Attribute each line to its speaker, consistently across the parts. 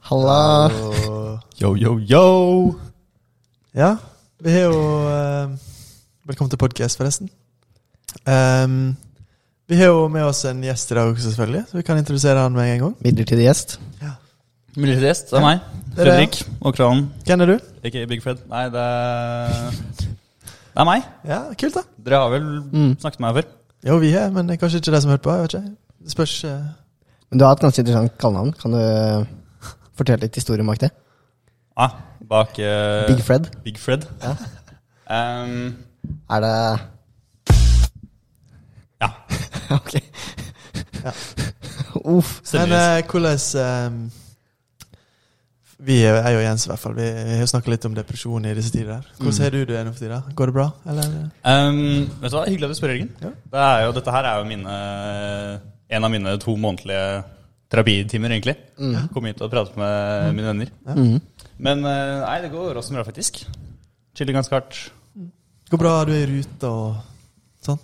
Speaker 1: Halla.
Speaker 2: Og,
Speaker 1: Yo, yo, yo.
Speaker 2: ja, vi har jo eh, Velkommen til podcast, forresten. Ehm, vi har jo med oss en gjest i dag også, selvfølgelig. Så vi kan introdusere han med en gang.
Speaker 1: Midlertidig gjest.
Speaker 3: Midlertidig gjest, det er meg.
Speaker 2: Det er
Speaker 3: Fredrik og Kranen.
Speaker 2: Hvem er du?
Speaker 3: Ikke Big Fred. Nei, det er Det er meg.
Speaker 2: Ja, Kult, da.
Speaker 3: Dere har vel
Speaker 1: Mm.
Speaker 3: snakket med meg før?
Speaker 2: Jo, vi har, men det er kanskje ikke de som hørte på. jeg vet ikke. Det spørs eh,
Speaker 1: Men du har et ganske interessant kallenavn. Kan du eh, fortelle litt historie bak det?
Speaker 3: Ah, bak eh,
Speaker 1: Big Fred.
Speaker 3: Big Fred.
Speaker 1: Ja.
Speaker 3: Ehm,
Speaker 1: Er det
Speaker 3: Ja.
Speaker 1: ok.
Speaker 2: Ja.
Speaker 1: Uff.
Speaker 3: Seriøst.
Speaker 2: Men eh, hvordan ehm, Vi er jeg og Jens, i hvert fall. Vi vi har snakka litt om depresjon i disse tider. her. Hvordan har du det nå for tida? Går det bra, eller?
Speaker 3: Ehm, vet du hva, Hyggelig at du spør, Jørgen.
Speaker 2: Ja.
Speaker 3: Det er jo, dette her er jo mine, en av mine to månedlige terapitimer, egentlig.
Speaker 1: Mm.
Speaker 3: Komme hit og prate med mine venner.
Speaker 1: Mhm.
Speaker 3: Men eh, nei, det går også bra, faktisk. Chiller ganske hardt.
Speaker 2: Går bra, du er i rute og sånn?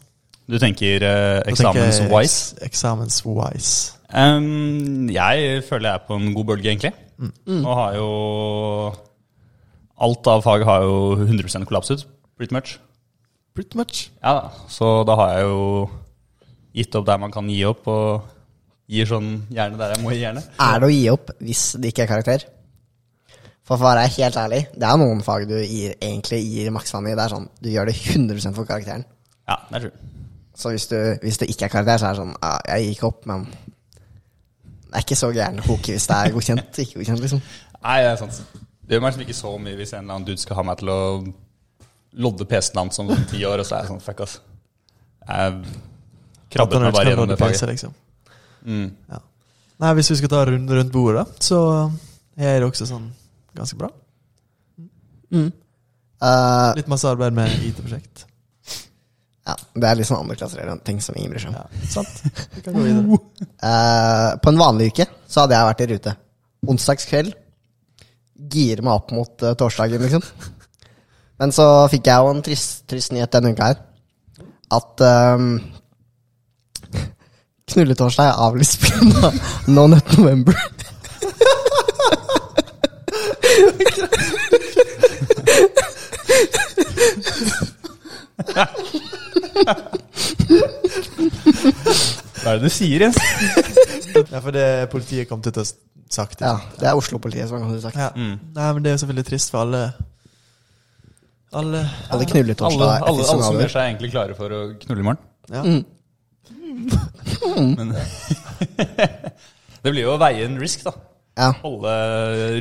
Speaker 3: Du tenker eh,
Speaker 2: Da tenker jeg
Speaker 3: eksamens-wise?
Speaker 2: eks- Eksamens-wise.
Speaker 3: Ehm, jeg føler jeg er på en god bølge, egentlig. Og har jo Alt av fag har jo 100 kollapset, pretty much.
Speaker 2: Pretty much.
Speaker 3: Ja da, Så da har jeg jo gitt opp der man kan gi opp, og gir sånn gjerne der jeg må gi gjerne.
Speaker 1: Er det å gi opp hvis det ikke er karakter? For for å være helt ærlig, det er noen fag du gir, egentlig gir maksvann i. Det er sånn, Du gjør det 100 for karakteren.
Speaker 3: Ja, det er true.
Speaker 1: Så hvis, du, hvis det ikke er karakter, så er det sånn ja, Jeg gikk opp, men det er ikke så gæren hoke hvis det er godkjent. Ikke godkjent, liksom.
Speaker 3: Nei, det er sant. Det gjør meg liksom ikke så mye hvis en eller annen dude skal ha meg til å lodde PC-en hans om ti år, og så er jeg sånn fuck, ass. Jeg krabbet meg bare gjennom det faget.
Speaker 2: Liksom.
Speaker 3: Mm.
Speaker 2: Ja. Nei, hvis vi skal ta runden rundt bordet, da, så er det også sånn ganske bra.
Speaker 1: Eh,
Speaker 2: Litt masse arbeid med IT-prosjekt.
Speaker 1: ja, det er litt sånn andreklasserende ting som ingen bryr seg om.
Speaker 2: Ja, sant? Vi kan gå videre.
Speaker 1: Eh, på en vanlig uke så hadde jeg vært i rute. Onsdagskveld girer meg opp mot eh, torsdagen, liksom. Men så fikk jeg jo en trist, trist nyhet denne uka her. At um, knulletorsdag er avlyst pga. No Nut November.
Speaker 3: Hva er det du sier, Jens?
Speaker 2: Ja, for det politiet kom til å ha sagt.
Speaker 1: Ja, det er Oslo-politiet som har sagt.
Speaker 2: Ja.
Speaker 3: Mm.
Speaker 2: Nei, men det er jo selvfølgelig trist for alle
Speaker 1: Alle
Speaker 2: Alle
Speaker 3: Alle,
Speaker 1: knulletorsdag
Speaker 3: alle, alle som gjør
Speaker 1: er
Speaker 3: seg egentlig klare for å knulle i morgen.
Speaker 2: Ja.
Speaker 3: Men det blir jo å veie en risk, da.
Speaker 1: Ja.
Speaker 3: Holde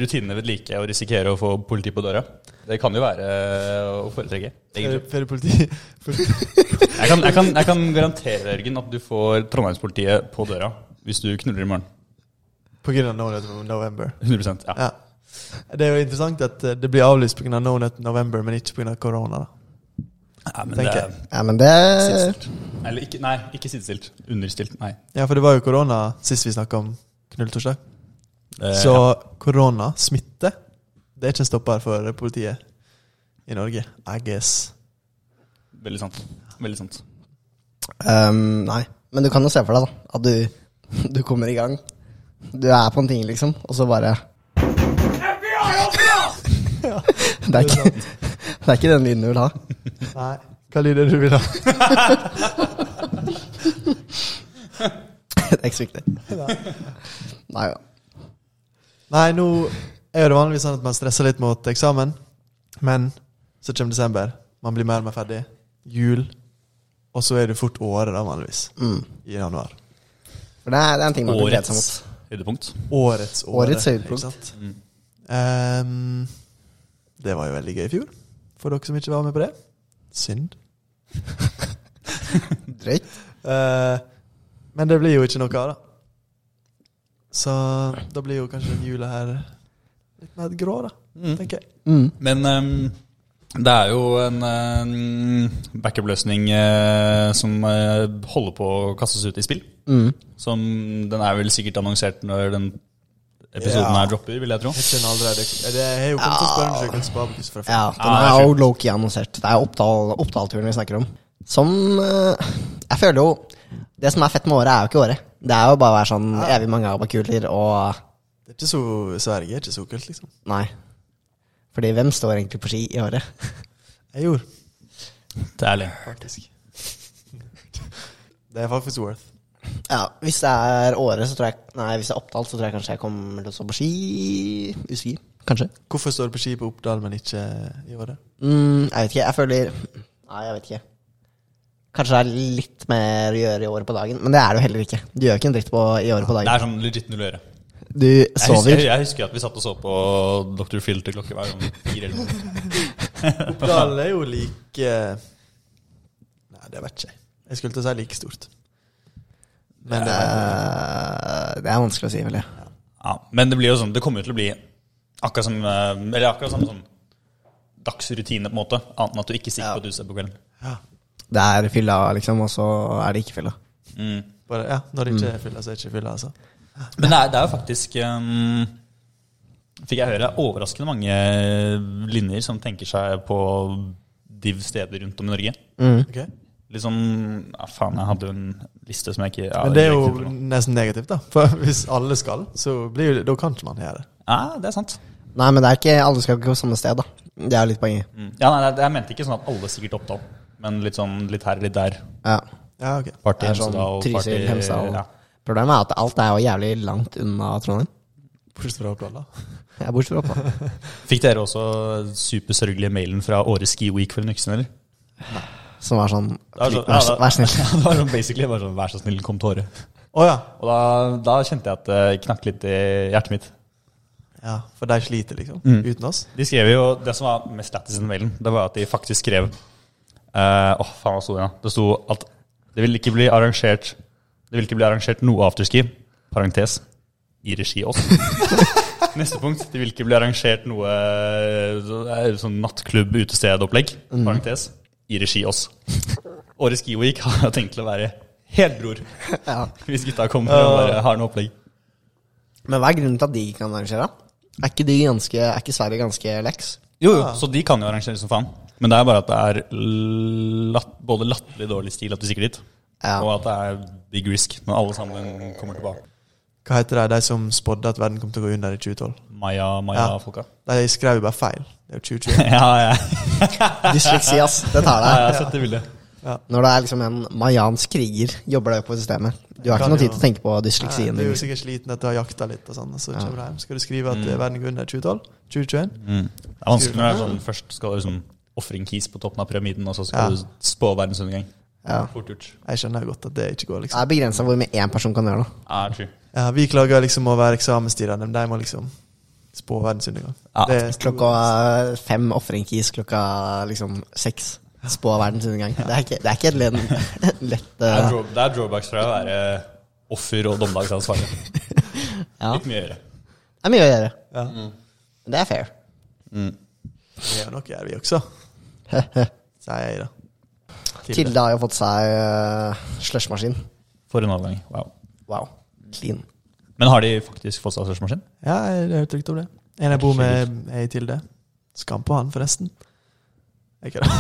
Speaker 3: rutinene ved like og risikere å få politi på døra. Det kan jo være eh, å foretrekke. egentlig.
Speaker 2: Flere politi
Speaker 3: Jeg kan, jeg kan, jeg kan garantere Jørgen at du får Trondheimspolitiet på døra hvis du knuller i morgen.
Speaker 2: på grunn av No Nut November.
Speaker 3: 100 ja.
Speaker 2: Ja. Det er jo interessant at eh, det blir avlyst pga. Av no Nut November, men ikke pga. korona. da.
Speaker 3: ja men det
Speaker 2: Tenker
Speaker 3: er
Speaker 2: jeg.
Speaker 1: Ja, men det
Speaker 3: sidestilt. Eller ikke, nei, ikke sidestilt. Understilt. Nei.
Speaker 2: Ja, for det var jo korona sist vi snakka om knulltorsdag.
Speaker 3: Eh,
Speaker 2: Så
Speaker 3: ja.
Speaker 2: korona, smitte, det er ikke en stopper for politiet i Norge. I guess.
Speaker 3: Veldig sant. Veldig sant.
Speaker 1: Ehm, nei, men du kan jo se for deg da at du, du kommer i gang. Du er på en ting, liksom, og så bare det, er ikke, det er ikke den lyden du vil ha.
Speaker 2: Nei. Hva lyd er det du vil ha?
Speaker 1: Det er ikke så viktig. Nei ja.
Speaker 2: Nei, nå er det vanligvis sånn at man stresser litt mot eksamen, men så kommer desember. Man blir mer og mer ferdig. Jul. Og så er det fort året, da, vanligvis. I januar.
Speaker 1: Mm. For det er, det er en ting man kan glede seg
Speaker 3: Årets
Speaker 1: mot.
Speaker 3: høydepunkt. Mm.
Speaker 2: Årets åre.
Speaker 1: Årets høydepunkt.
Speaker 2: ikke sant? Ehm, det var jo veldig gøy i fjor. For dere som ikke var med på det. Synd.
Speaker 1: Drøyt.
Speaker 2: Eh, men det blir jo ikke noe av, da. Så da blir jo kanskje den jula her litt mer grå, da.
Speaker 1: Mm.
Speaker 2: Tenker jeg.
Speaker 3: Men ehm, det er jo en ehm, backup-løsning eh, som eh, holder på å kastes ut i spill. Som den er vel sikkert annonsert når den episoden
Speaker 2: Ja.
Speaker 3: her dropper, vil jeg tro.
Speaker 2: Jeg kjenner allerede Det er jo kommet til spørreundersøkelse på Abakus fra før.
Speaker 1: Ja, den
Speaker 3: Ja, det er
Speaker 1: er jo lowkey annonsert. Det er Oppdal- Oppdal-turen vi snakker om. Som eh, Jeg føler jo Det som er fett med året, er jo ikke året. Det er jo bare å være sånn evig mange abakuler og
Speaker 2: Det er ikke så, Sverige er ikke så kult, liksom.
Speaker 1: Nei. Fordi hvem står egentlig på ski i året?
Speaker 2: Jeg gjorde,
Speaker 3: Det er det.
Speaker 2: faktisk. det er faktisk worth.
Speaker 1: Ja, hvis det er året, så tror jeg Nei, hvis det er Oppdal, så tror jeg kanskje jeg kommer til å stå på ski. Uski, kanskje.
Speaker 2: Hvorfor står du på ski på Oppdal, men ikke i Åre?
Speaker 1: Mm, jeg vet ikke. Jeg føler Nei, jeg vet ikke. Kanskje det er litt mer å gjøre i året på dagen, men det er det jo heller ikke. Du gjør ikke en dritt på, i året på
Speaker 3: Det
Speaker 1: dagen.
Speaker 3: er sånn legit null å gjøre.
Speaker 1: Du
Speaker 3: Jeg husker,
Speaker 1: sover.
Speaker 3: jeg husker at vi satt og så på Dr. Phil til klokka hver om fire eller noe.
Speaker 2: Oppdal er jo like Nei, det vet ikke jeg. Jeg skulle til å si like stort. Men det er
Speaker 1: Eh, det er vanskelig å si, vel. Ja.
Speaker 3: Ja, men det blir jo sånn, det kommer jo til å bli akkurat som eh, Eller akkurat samme sånn dagsrutine, på en måte. Annet enn at du ikke sitter på et utested på kvelden.
Speaker 2: ja,
Speaker 1: Det er fylla, liksom, og så er det ikke fylla.
Speaker 3: Mm.
Speaker 2: bare, ja, når det ikke er fylla, så er det ikke fylla, altså.
Speaker 3: Men det er, det er jo faktisk ehm, Fikk jeg høre overraskende mange eh, linjer som tenker seg på div steder rundt om i Norge.
Speaker 2: Ok?
Speaker 3: Litt sånn Ja, faen, jeg hadde jo en liste som jeg ikke ja,
Speaker 2: Men det er
Speaker 3: riktig
Speaker 2: jo
Speaker 3: for noe.
Speaker 2: nesten negativt, da. For hvis alle skal, så blir jo, da kan ikke man gjøre det.
Speaker 3: Ja, det er sant.
Speaker 1: Nei, men det er ikke alle skal gå samme sted, da. Det er jo litt poenget.
Speaker 3: Mm. Ja, nei, det- Jeg mente ikke sånn at alle sikkert opptatt, men litt sånn litt her, litt der.
Speaker 1: Ja.
Speaker 2: Ja, ok.
Speaker 3: Party
Speaker 1: Det er sånn
Speaker 3: Hemsedal,
Speaker 1: Trysil,
Speaker 3: party-
Speaker 1: Hemsedal.
Speaker 3: ja.
Speaker 1: Problemet er at alt er jo jævlig langt unna Trondheim.
Speaker 2: Bortsett fra Oppdal, da.
Speaker 1: Jeg er bortsett fra Oppdal.
Speaker 3: Fikk dere også supersørgelige mailen fra årets Ski Week for en uke siden, eller?
Speaker 1: Som var sånn
Speaker 3: Det var sånn-
Speaker 1: Vær så- vær snill.
Speaker 3: Ja, det var sånn basically bare sånn, vær så snill, kom til Åre.
Speaker 2: Å ja.
Speaker 3: Og da, da kjente jeg at det knakk litt i hjertet mitt.
Speaker 2: ja. For de sliter, liksom. Uten oss.
Speaker 3: De skrev jo Det som var mest lættis i den mailen, det var at de faktisk skrev eh, Åh, faen, hva sto det? da? Det sto at det vil ikke bli arrangert Det vil ikke bli arrangert noe afterski, parentes, i regi oss. Neste punkt. Det vil ikke bli arrangert noe eh, sånn nattklubb, utestedopplegg, parentes, i regi oss. Årets Ski Week har jeg tenkt til å være helt bror,
Speaker 1: Ja.
Speaker 3: hvis gutta kommer og bare har noe opplegg.
Speaker 1: Men hva er grunnen til at de ikke kan arrangere? da? Er ikke, de ganske, er ikke Sverige ganske leks?
Speaker 3: Jo, jo, så de kan jo arrangere som faen. Men det er bare at det er latt, både latterlig dårlig stil at du stikker dit,
Speaker 1: Ja.
Speaker 3: og at det er big risk når alle sammen kommer tilbake.
Speaker 2: Hva heter de, de som spådde at verden kom til å gå under i 2012?
Speaker 3: Maya,
Speaker 2: Ja.
Speaker 3: Maya-folka.
Speaker 2: De skrev jo bare feil. Det er jo 2021.
Speaker 3: Ja. ja,
Speaker 1: Dysleksi, ass. Det tar
Speaker 3: ja, jeg
Speaker 1: deg.
Speaker 3: har sett det bildet.
Speaker 1: Når det er liksom en mayansk kriger, jobber deg opp på systemet. Du har
Speaker 2: Kan
Speaker 1: ikke noe
Speaker 2: jo-
Speaker 1: tid til å tenke på
Speaker 2: Nei,
Speaker 1: dysleksien
Speaker 2: Du er
Speaker 1: din.
Speaker 2: jo sikkert sliten etter å ha jakta litt, og sånn, og så kommer du hjem. Skal du skrive at eh, verden går under 2012? 2021?
Speaker 3: Mm. Det er vanskelig når det er sånn først skal du liksom ofre en kis på toppen av pyramiden, og så
Speaker 2: Ja.
Speaker 3: skal du spå verdensundergang.
Speaker 1: Ja.
Speaker 3: Fort gjort.
Speaker 2: Jeg skjønner jo godt at det ikke går,
Speaker 1: Det
Speaker 2: liksom.
Speaker 1: er begrensa hvor mye én person kan gjøre noe.
Speaker 3: Ja, true.
Speaker 2: Ja, vi klager liksom over eksamenstida, men de må liksom spå verdensundergang.
Speaker 3: Ja,
Speaker 2: Det er stor-
Speaker 1: Klokka fem ofrer en kis, klokka liksom seks spå verdens undergang. Det er ikke, det er ikke et lett, lett
Speaker 3: Det er,
Speaker 1: eh,
Speaker 3: draw, det er drawbacks fra å være offer og dommedagsansvarlig.
Speaker 1: eh, Ja.
Speaker 3: Litt mye å gjøre.
Speaker 1: Det er mye å gjøre.
Speaker 2: Ja.
Speaker 1: Det er fair.
Speaker 3: Mm.
Speaker 2: Det er jo noe gjør vi også, sier jeg, da. Tilde.
Speaker 1: Tilde har jo fått seg uh, slushmaskin.
Speaker 3: For en overgang. Wow.
Speaker 1: Wow. Clean.
Speaker 3: Men har de faktisk fått seg størstemaskin?
Speaker 2: Ja, jeg har hørt rykte om det. En jeg bor med, er i Tilde. Skam på han, forresten. Er Ikke det?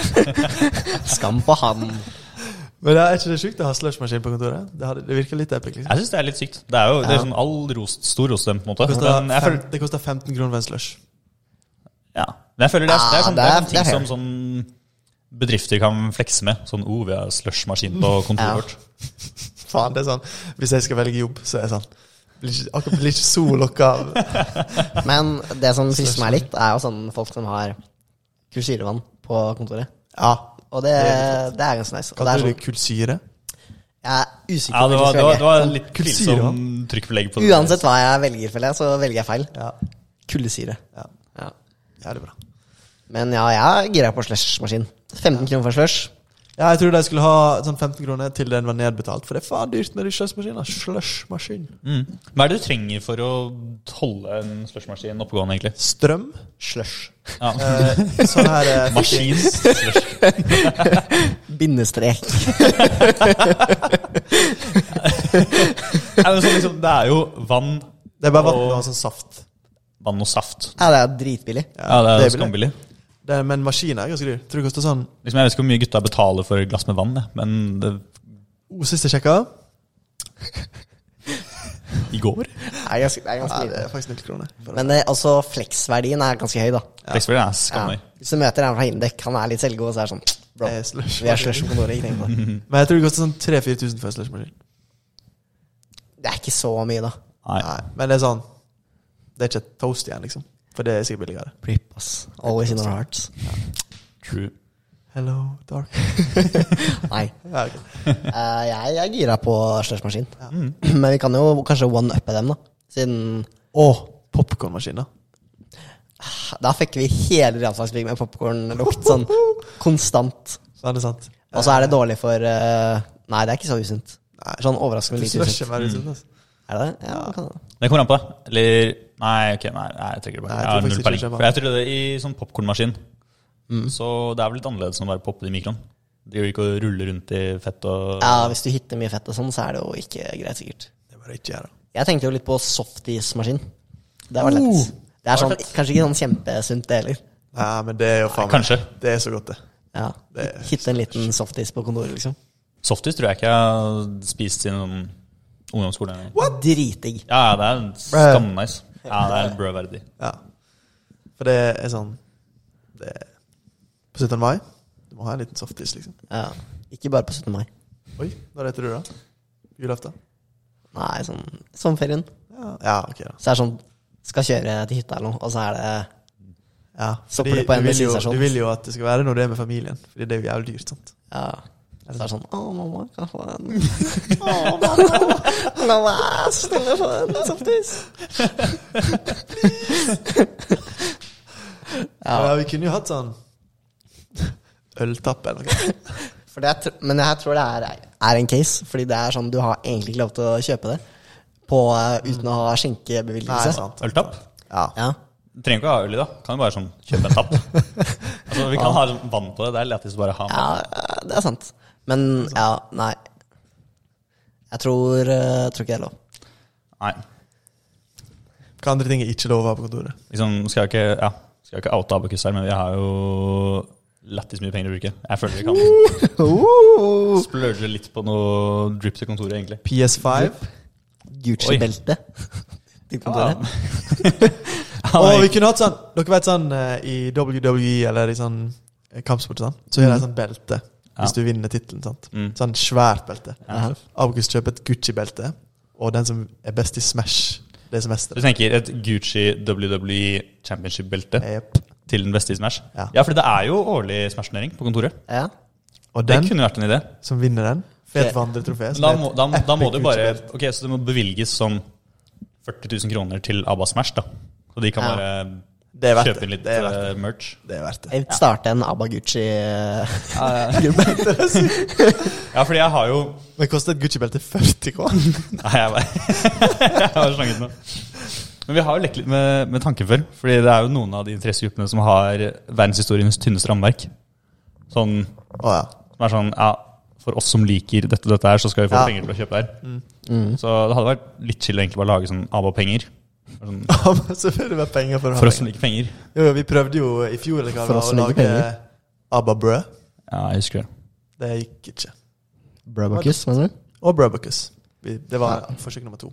Speaker 1: Skam på han.
Speaker 2: Men det er ikke det sjukt å ha slushmaskin på kontoret? Det, hadde, det virker litt epic, liksom.
Speaker 3: Jeg syns det er litt sykt. Det er jo det er sånn all ros, stor ros til dem, på en måte.
Speaker 2: Det koster
Speaker 3: Men jeg føler,
Speaker 2: fem- Det koster 15 kroner for en slush.
Speaker 3: ja. Men jeg føler det er, det er, sånn, det er sånn
Speaker 1: Ja, det er-
Speaker 3: ting
Speaker 1: det er
Speaker 3: som sånn bedrifter kan flekse med. Sånn oh, vi har slushmaskin på kontoret
Speaker 1: Ja.
Speaker 3: vårt.
Speaker 2: Faen, det er sånn Hvis jeg skal velge jobb, så er jeg sånn Blir ikke, akkurat blir ikke så lokka av
Speaker 1: Men det som frister meg litt, er jo sånn folk som har kulsyrevann på kontoret.
Speaker 2: Ja.
Speaker 1: Og det,
Speaker 2: Det
Speaker 1: det er ganske nice. Og det
Speaker 2: Kaller
Speaker 1: er
Speaker 2: du det
Speaker 1: sånn,
Speaker 2: kullsyre?
Speaker 1: jeg er usikker
Speaker 3: Ja, det
Speaker 1: på
Speaker 3: var,
Speaker 1: hvilken
Speaker 3: det var,
Speaker 1: jeg
Speaker 3: det var litt
Speaker 2: Kulsyre,
Speaker 3: tvilsom trykkbelegg på
Speaker 1: velger.
Speaker 3: det.
Speaker 1: Uansett hva jeg velger, føler jeg, så velger jeg feil.
Speaker 2: Ja.
Speaker 1: Kuldesyre.
Speaker 2: ja.
Speaker 1: Ja.
Speaker 2: Jævlig bra.
Speaker 1: Men ja, jeg er gira på slushmaskin. 15 kroner for slush.
Speaker 2: Ja, jeg tror de skulle ha sånn 15 kroner til den var nedbetalt, for det er faen dyrt med de slushmaskinene. Slushmaskin.
Speaker 3: Mm. Hva er det du trenger for å holde en slushmaskin oppegående, egentlig?
Speaker 2: Strøm.
Speaker 1: Slush.
Speaker 3: Ja.
Speaker 2: Eh, sånn her eh,
Speaker 3: Maskin slush.
Speaker 1: Bindestrek.
Speaker 3: Ja, men sånn, liksom, det er jo vann,
Speaker 2: Det er bare vann og sånn saft.
Speaker 3: vann og saft.
Speaker 1: Ja, det er jo dritbillig.
Speaker 3: Ja, det er
Speaker 2: billig.
Speaker 3: skambillig.
Speaker 2: Det er, men maskinen er ganske dyr. Tror det koster sånn
Speaker 3: Liksom, jeg vet ikke hvor mye gutta betaler for et glass med vann, jeg, men det,
Speaker 2: oh, Sist jeg sjekka,
Speaker 3: i går?
Speaker 1: Er er ganske, det er ganske
Speaker 2: Nei, det
Speaker 1: lite.
Speaker 2: er faktisk 90 kroner. for det.
Speaker 1: Men det, altså, fleksverdien er ganske høy, da.
Speaker 3: Tekstfilm er skammer.
Speaker 1: Hvis du møter en fra Hindek, han er litt selvgod, så er det sånn Bro,
Speaker 2: Det er slush.
Speaker 1: vi er slush på Norge. tenk på det.
Speaker 2: Men jeg tror det koster sånn 3000-4000 for en slushmaskin.
Speaker 1: Det er ikke så mye, da.
Speaker 3: Nei.
Speaker 2: Nei, Men det er sånn Det er ikke et toast igjen, liksom. For det er sikkert billigere.
Speaker 1: Rip, ass. Always in our hearts.
Speaker 3: True.
Speaker 2: Hello, dark.
Speaker 1: Nei.
Speaker 2: Ja, ok.
Speaker 1: Eh, jeg, jeg er gira på slushmaskin. Mm. Men vi kan jo kanskje one-uppe dem, da. Siden
Speaker 2: Og popkornmaskin, da.
Speaker 1: da fikk vi hele Realfagsbygg med popkornlukt sånn konstant.
Speaker 2: Så er det sant.
Speaker 1: Og så er det dårlig for eh, Nei, det er ikke så usunt.
Speaker 2: Nei.
Speaker 1: Sånn overraskende lite usunt.
Speaker 2: Slush er mer usunt, altså.
Speaker 1: Er det det? Ja, kan det.
Speaker 3: Det kommer an på deg. Eller Nei, ok, nei, nei jeg trekker det
Speaker 2: Nei,
Speaker 3: tilbake.
Speaker 2: jeg tror
Speaker 3: Jeg har
Speaker 2: faktisk
Speaker 3: null
Speaker 2: ikke
Speaker 3: peiling.
Speaker 2: det skjer Mm. bare.
Speaker 3: For jeg trodde det i sånn popkornmaskin. Så det er vel litt annerledes enn å bare poppe det i mikroen. Driver ikke og ruller rundt i fett og
Speaker 1: ja, hvis du hitter mye fett og sånn, så er det jo ikke greit, sikkert.
Speaker 2: Det bør jeg ikke gjøre.
Speaker 1: Jeg tenkte jo litt på softismaskin. Det var lett.
Speaker 2: Oh,
Speaker 1: det er
Speaker 3: var
Speaker 1: sånn,
Speaker 3: fett.
Speaker 1: kanskje ikke sånn kjempesunt, det heller.
Speaker 2: Nei, men det er jo faen meg-
Speaker 3: Kanskje.
Speaker 2: Det er så godt, det.
Speaker 1: Ja.
Speaker 2: Det er-
Speaker 1: Hitte en liten softis på kontoret, liksom.
Speaker 3: Softis tror jeg ikke jeg har spist siden sånn ungdomsskolen.
Speaker 1: Dritdigg.
Speaker 3: Ja, ja, det er skamnice. Ja, det er brødverdig.
Speaker 2: Ja. For det er sånn det er På 17. mai du må ha en liten softis, liksom.
Speaker 1: Ja. Ikke bare på 17. mai.
Speaker 2: Oi, når heter du da? Julaften?
Speaker 1: Nei, sånn sommerferien.
Speaker 2: Ja, ja ok, da.
Speaker 1: Så er det sånn Skal kjøre til hytta eller noe, og så er det
Speaker 2: Ja,
Speaker 1: Stopper
Speaker 2: fordi
Speaker 1: du på en
Speaker 2: du vil, jo,
Speaker 1: bensinstasjon?
Speaker 2: du vil jo at det skal være når du er med familien, Fordi det er jo jævlig dyrt. sant?
Speaker 1: Ja. Så er det sånn Å, mamma, kan jeg få en Å, mamma, mamma, snill, få en softis.
Speaker 2: Ja. Vi kunne jo hatt sånn øltappe eller noe.
Speaker 1: For det, er tr- men jeg tror det er, er en case, fordi det er sånn du har egentlig ikke lov til å kjøpe det på, eh, uten å ha
Speaker 2: Mm. Nei,
Speaker 1: skjenkebevilgelse.
Speaker 2: sant.
Speaker 3: Øltapp?
Speaker 2: Ja.
Speaker 1: Ja.
Speaker 3: Du trenger ikke å ha øl i, da. Kan jo bare sånn kjøpe en tapp. altså, vi kan ha sånn vann på det. Det er lættis å bare ha.
Speaker 1: ja, eh, det er sant. Men ja, nei. Jeg tror, eh, tror ikke det er lov.
Speaker 3: Nei.
Speaker 2: Hva andre ting er ikke lov å ha på kontoret?
Speaker 3: Liksom, skal jeg ikke Ja, skal jeg ikke oute Abakus her, men vi har jo lættis mye penger å bruke. Jeg føler vi kan
Speaker 2: Uh!
Speaker 3: splurge litt på noe drip til kontoret, egentlig.
Speaker 2: PS5.
Speaker 1: Gucci-belte. Til kontoret.
Speaker 3: Ja,
Speaker 2: Og vi
Speaker 3: men-
Speaker 2: kunne hatt sånn Dere vet sånn eh, i WWE eller i sånn eh, kampsport, sånn, så er det sånn belte
Speaker 3: Ja.
Speaker 2: hvis du vinner tittelen. sant?
Speaker 3: Mm.
Speaker 2: Sånn svært belte.
Speaker 3: Ja.
Speaker 2: August kjøper et Gucci-belte, og den som er best i Smash, det er som mester.
Speaker 3: Du tenker et Gucci WWE Championship-belte
Speaker 2: Yep.
Speaker 3: til den beste i Smash?
Speaker 2: Ja.
Speaker 3: Ja, for det er jo årlig Smash-turnering på kontoret.
Speaker 1: Ja.
Speaker 2: Og
Speaker 3: Det
Speaker 2: den
Speaker 3: kunne vært en idé.
Speaker 2: som vinner den, får
Speaker 1: Det-
Speaker 2: et vandretrofé.
Speaker 3: Men
Speaker 2: som
Speaker 3: da
Speaker 2: er et
Speaker 3: må, da, da må
Speaker 2: epic
Speaker 3: det bare
Speaker 2: Gucci-belte.
Speaker 3: Ok, så det må bevilges sånn 40 000 kroner til Abba Smash, da. Så de kan
Speaker 1: Ja.
Speaker 2: Det er
Speaker 3: bare
Speaker 2: verdt
Speaker 3: kjøpe inn
Speaker 2: det.
Speaker 3: litt
Speaker 2: Det er verdt det.
Speaker 3: eh, merch.
Speaker 2: Det er verdt det.
Speaker 1: Jeg vil starte en eh, Abaguchi-gruppe.
Speaker 3: Ja, fordi jeg har jo
Speaker 2: Men koster et Gucci-belte 40 K?
Speaker 3: Nei, jeg bare Jeg har slanget nå. Men vi har jo lekt litt med, med tanken før. Fordi det er jo noen av de interessegruppene som har verdenshistoriens tynneste rammeverk. Sånn,
Speaker 2: Å ja.
Speaker 3: som er sånn Ja, for oss som liker dette og dette her, så skal vi få
Speaker 2: Ja.
Speaker 3: penger til å kjøpe det her.
Speaker 2: Mm.
Speaker 3: Så det hadde vært litt chill å egentlig bare lage sånn ABBA-penger. Sånn,
Speaker 2: Ja, men så får det være penger for å ha
Speaker 3: for
Speaker 2: penger.
Speaker 3: oss som liker penger.
Speaker 2: Jo, jo, vi prøvde jo i fjor eller hva
Speaker 1: For
Speaker 2: det
Speaker 1: oss
Speaker 2: var, å
Speaker 1: som liker
Speaker 2: lage
Speaker 1: penger.
Speaker 2: ABBA-brød.
Speaker 3: Ja, jeg husker det.
Speaker 2: Det gikk ikke.
Speaker 1: Brabacus, mener du?
Speaker 2: Og Brubacus. Vi- Det var forsøk nummer to.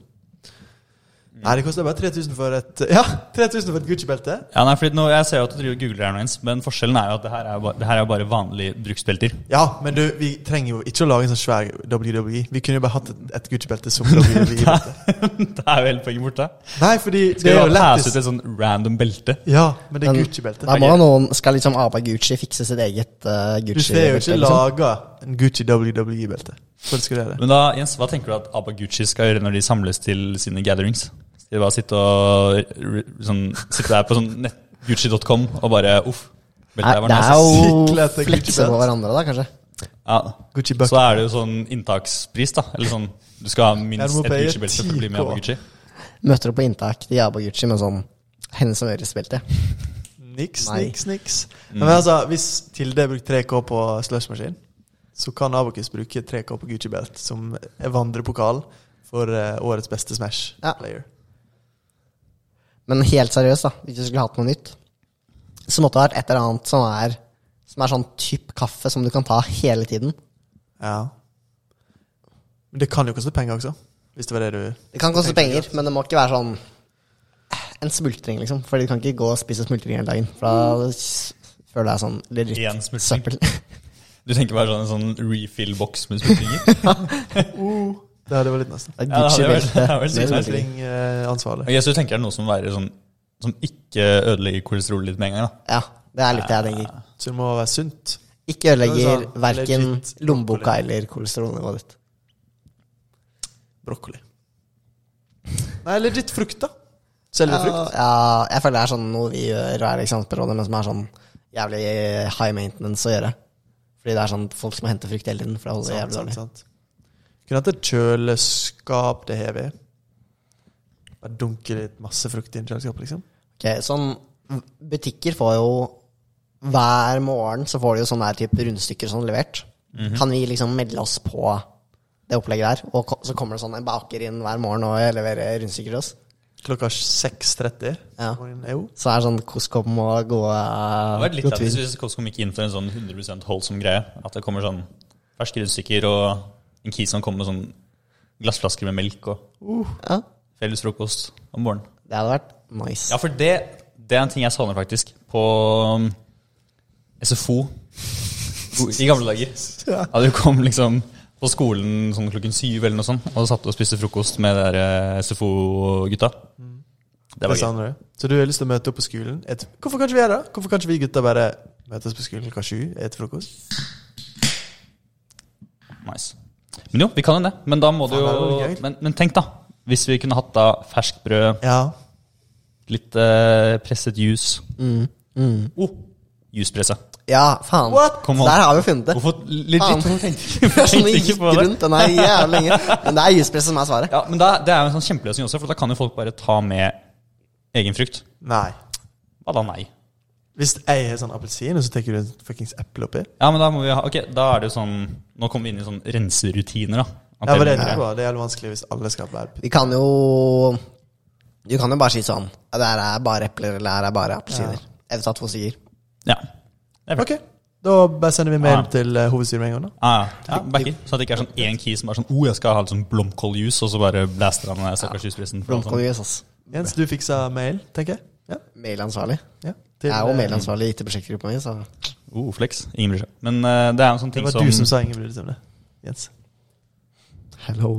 Speaker 1: Mm.
Speaker 2: Nei, det koster bare 3000 for et Ja, 3000 for et Gucci-belte.
Speaker 3: Ja, nei, fordi nå, Jeg ser jo at du driver og googler her nå, Jens, men forskjellen er jo at det her er jo bare, det her er jo bare vanlige bruksbelter.
Speaker 2: Ja, men du, vi trenger jo ikke å lage en sånn svær WWE. Vi kunne jo bare hatt et, et Gucci-belte som WWE-belte.
Speaker 3: det er jo hele poenget borte.
Speaker 2: Nei, fordi det
Speaker 3: Skal
Speaker 2: er
Speaker 3: vi
Speaker 2: jo
Speaker 3: bare passe
Speaker 2: lettest
Speaker 3: ut et sånn random belte?
Speaker 2: Ja, men det er
Speaker 1: Men-
Speaker 2: Gucci-belte.
Speaker 1: Da må noen, skal liksom Abaguchi fikse sitt eget uh,
Speaker 2: Du får jo
Speaker 1: Gucci-belte?
Speaker 2: ikke
Speaker 1: Liksom.
Speaker 2: laga en Gucci WWE-belte. Hvordan skal du gjøre det?
Speaker 3: Men da, Jens, hva tenker du at Abaguchi skal gjøre når de samles til sine gatherings? Skal de bare sitte, og, re- sånn, sitte der på sånn nett- gucci.com og bare uff?
Speaker 1: Nei,
Speaker 3: beltet her var
Speaker 1: det
Speaker 3: nice,
Speaker 1: er
Speaker 3: ass».
Speaker 2: Sykt
Speaker 1: jo
Speaker 2: lett, det er
Speaker 1: flekse på
Speaker 2: Gucci-belt.
Speaker 1: hverandre, da, kanskje.
Speaker 3: ja.
Speaker 2: Gucci
Speaker 3: Så
Speaker 2: Buck.
Speaker 3: er det jo sånn inntakspris, da. Eller sånn du skal ha minst
Speaker 2: må
Speaker 3: et
Speaker 2: paye
Speaker 3: Gucci-belte for å bli med
Speaker 2: 10K.
Speaker 3: i Abaguchi.
Speaker 1: Møter opp på inntak til Abaguchi med sånn henne som øresbelte.
Speaker 2: Niks,
Speaker 1: Nei.
Speaker 2: niks, niks. Men altså, hvis Tilde brukte 3K på slushmaskin, så kan Abokus bruke 3K på Gucci Belt som vandrepokal for eh, årets beste Smash
Speaker 1: Ja.
Speaker 2: player.
Speaker 1: Men helt seriøst, da, hvis du skulle hatt noe nytt, så måtte det vært et eller annet som er, som er sånn typ kaffe som du kan ta hele tiden.
Speaker 2: Ja. Men det kan jo koste penger også. Hvis Hvis det var det du
Speaker 1: Det kan koste penger, men det må ikke være sånn en smultring, liksom. For de kan ikke gå og spise smultring hele dagen. For da s- føler jeg sånn
Speaker 3: Én
Speaker 1: legit
Speaker 3: Mm. smultring.
Speaker 1: søppel.
Speaker 3: Du tenker bare sånn en sånn refill-boks med smultringer?
Speaker 2: Det hadde vært litt eh, nesten.
Speaker 1: Det er
Speaker 3: Ja, det hadde
Speaker 1: Gucci-belte.
Speaker 3: vært- det hadde vært
Speaker 1: Det er
Speaker 3: litt
Speaker 1: smultring.
Speaker 2: Smultringansvarlig.
Speaker 3: Ok, så du tenker det er noe som, være sånn, som ikke ødelegger kolesterolet litt med en gang? da?
Speaker 1: Ja, det er litt det jeg tenker.
Speaker 2: Så det må være sunt.
Speaker 1: Ikke ødelegger
Speaker 2: Det er sånn
Speaker 1: verken
Speaker 2: legit
Speaker 1: lommeboka eller kolesterolnivået ditt.
Speaker 2: Brokkoli. Nei, legit frukt, da. Selve
Speaker 1: Ja,
Speaker 2: frukt.
Speaker 1: ja, jeg føler det er sånn noe vi gjør og er i eksamensperioden, men som er sånn jævlig high maintenance å gjøre. Fordi det er sånn folk som må hente frukt hele tiden, for det holder
Speaker 2: Sant,
Speaker 1: jævlig
Speaker 2: sant,
Speaker 1: dårlig.
Speaker 2: sant. Kunne hatt et kjøleskap det har vi. Bare dunke litt masse frukt i en kjøleskap, liksom.
Speaker 1: Ok, sånn Butikker får jo Hver morgen så får de jo sånne her type rundstykker sånn levert.
Speaker 3: Mhm.
Speaker 1: Kan vi liksom melde oss på det opplegget der? Og ko- så kommer det sånn en baker inn hver morgen og leverer rundstykker til oss.
Speaker 2: Klokka 6.30.
Speaker 1: Ja.
Speaker 2: Jo.
Speaker 1: Så er det sånn Koskom og gå
Speaker 3: Det hadde vært litt
Speaker 1: gå
Speaker 3: lættis
Speaker 1: tur.
Speaker 3: hvis Costco gikk inn for en sånn 100 holdsom greie. At det kommer sånn ferske rundstykker og en kis som kommer med sånn glassflasker med melk og
Speaker 1: Ja,
Speaker 3: felles frokost om morgenen.
Speaker 1: det hadde vært nice.
Speaker 3: Ja, for det, det er en ting jeg savner faktisk på um, SFO i gamle dager. At du kom liksom på skolen sånn klokken syv eller noe sånt, og satt og spiste frokost med de der eh, SFO-gutta. Det
Speaker 2: Det
Speaker 3: var gøy.
Speaker 2: savner du. Så du har lyst til å møte opp på skolen? Et, hvorfor kan ikke vi gjøre det? Hvorfor kan ikke vi gutter bare møtes på skolen klokka sju, spise frokost?
Speaker 3: Nice. Men jo, vi kan jo det. Men da må du
Speaker 2: Faen, det
Speaker 3: jo
Speaker 2: hadde vært gøy.
Speaker 3: men, men tenk, da. Hvis vi kunne hatt da ferskt brød,
Speaker 2: Ja.
Speaker 3: litt eh, presset juice Oh, juicepresse.
Speaker 1: Ja, faen.
Speaker 2: What?
Speaker 3: Kom
Speaker 1: Så
Speaker 3: on.
Speaker 1: Der har vi funnet det.
Speaker 3: Hvorfor legit
Speaker 1: Eh, Faen.
Speaker 3: tenkte
Speaker 1: Det er sånn det
Speaker 3: ikke
Speaker 1: gikk
Speaker 3: på det?
Speaker 1: rundt den her jævlig lenge. Men det er juspress som er svaret.
Speaker 3: Ja, men da, Det er jo en sånn kjempeløsning også, for da kan jo folk bare ta med egen frukt.
Speaker 2: Nei.
Speaker 3: Hva da, nei?
Speaker 2: Hvis jeg har sånn appelsin, og så tar du en fuckings eple oppi?
Speaker 3: Ja, men Da må vi ha, ok, da er det jo sånn Nå kommer vi inn i sånn renserutiner, da. At
Speaker 2: Ja, for det,
Speaker 3: blir-
Speaker 2: er bra. det er jævlig vanskelig hvis alle skal være putt.
Speaker 1: Vi kan jo Du kan jo bare si sånn ja, Det her er bare epler, eller det her er bare appelsiner. Jeg vil ta to stykker.
Speaker 3: ja. Det er bra.
Speaker 2: Ok, da bare sender vi mail
Speaker 3: Ja.
Speaker 2: til eh, hovedstyret med en gang, da.
Speaker 3: Ah, ja, ja, backer. Så at det ikke er sånn én key som er sånn oh, jeg skal ha litt sånn blomkåljuice, og så bare blaster han den stakkars juicepressen. for
Speaker 1: Blomkål
Speaker 3: sånn.
Speaker 1: US, ass.
Speaker 2: Jens, du fiksa mail, tenker jeg? Ja.
Speaker 1: Mailansvarlig.
Speaker 2: ja. Til,
Speaker 1: Jeg er jo
Speaker 2: eh,
Speaker 1: mailansvarlig i IT-prosjektgruppa mi, så
Speaker 3: Oh, flex. Ingen bryr seg. Men eh, det er en sånn
Speaker 2: Det
Speaker 3: ting
Speaker 2: var
Speaker 3: som,
Speaker 2: du som sa ingen brydde seg om det. Jens.
Speaker 1: Hello,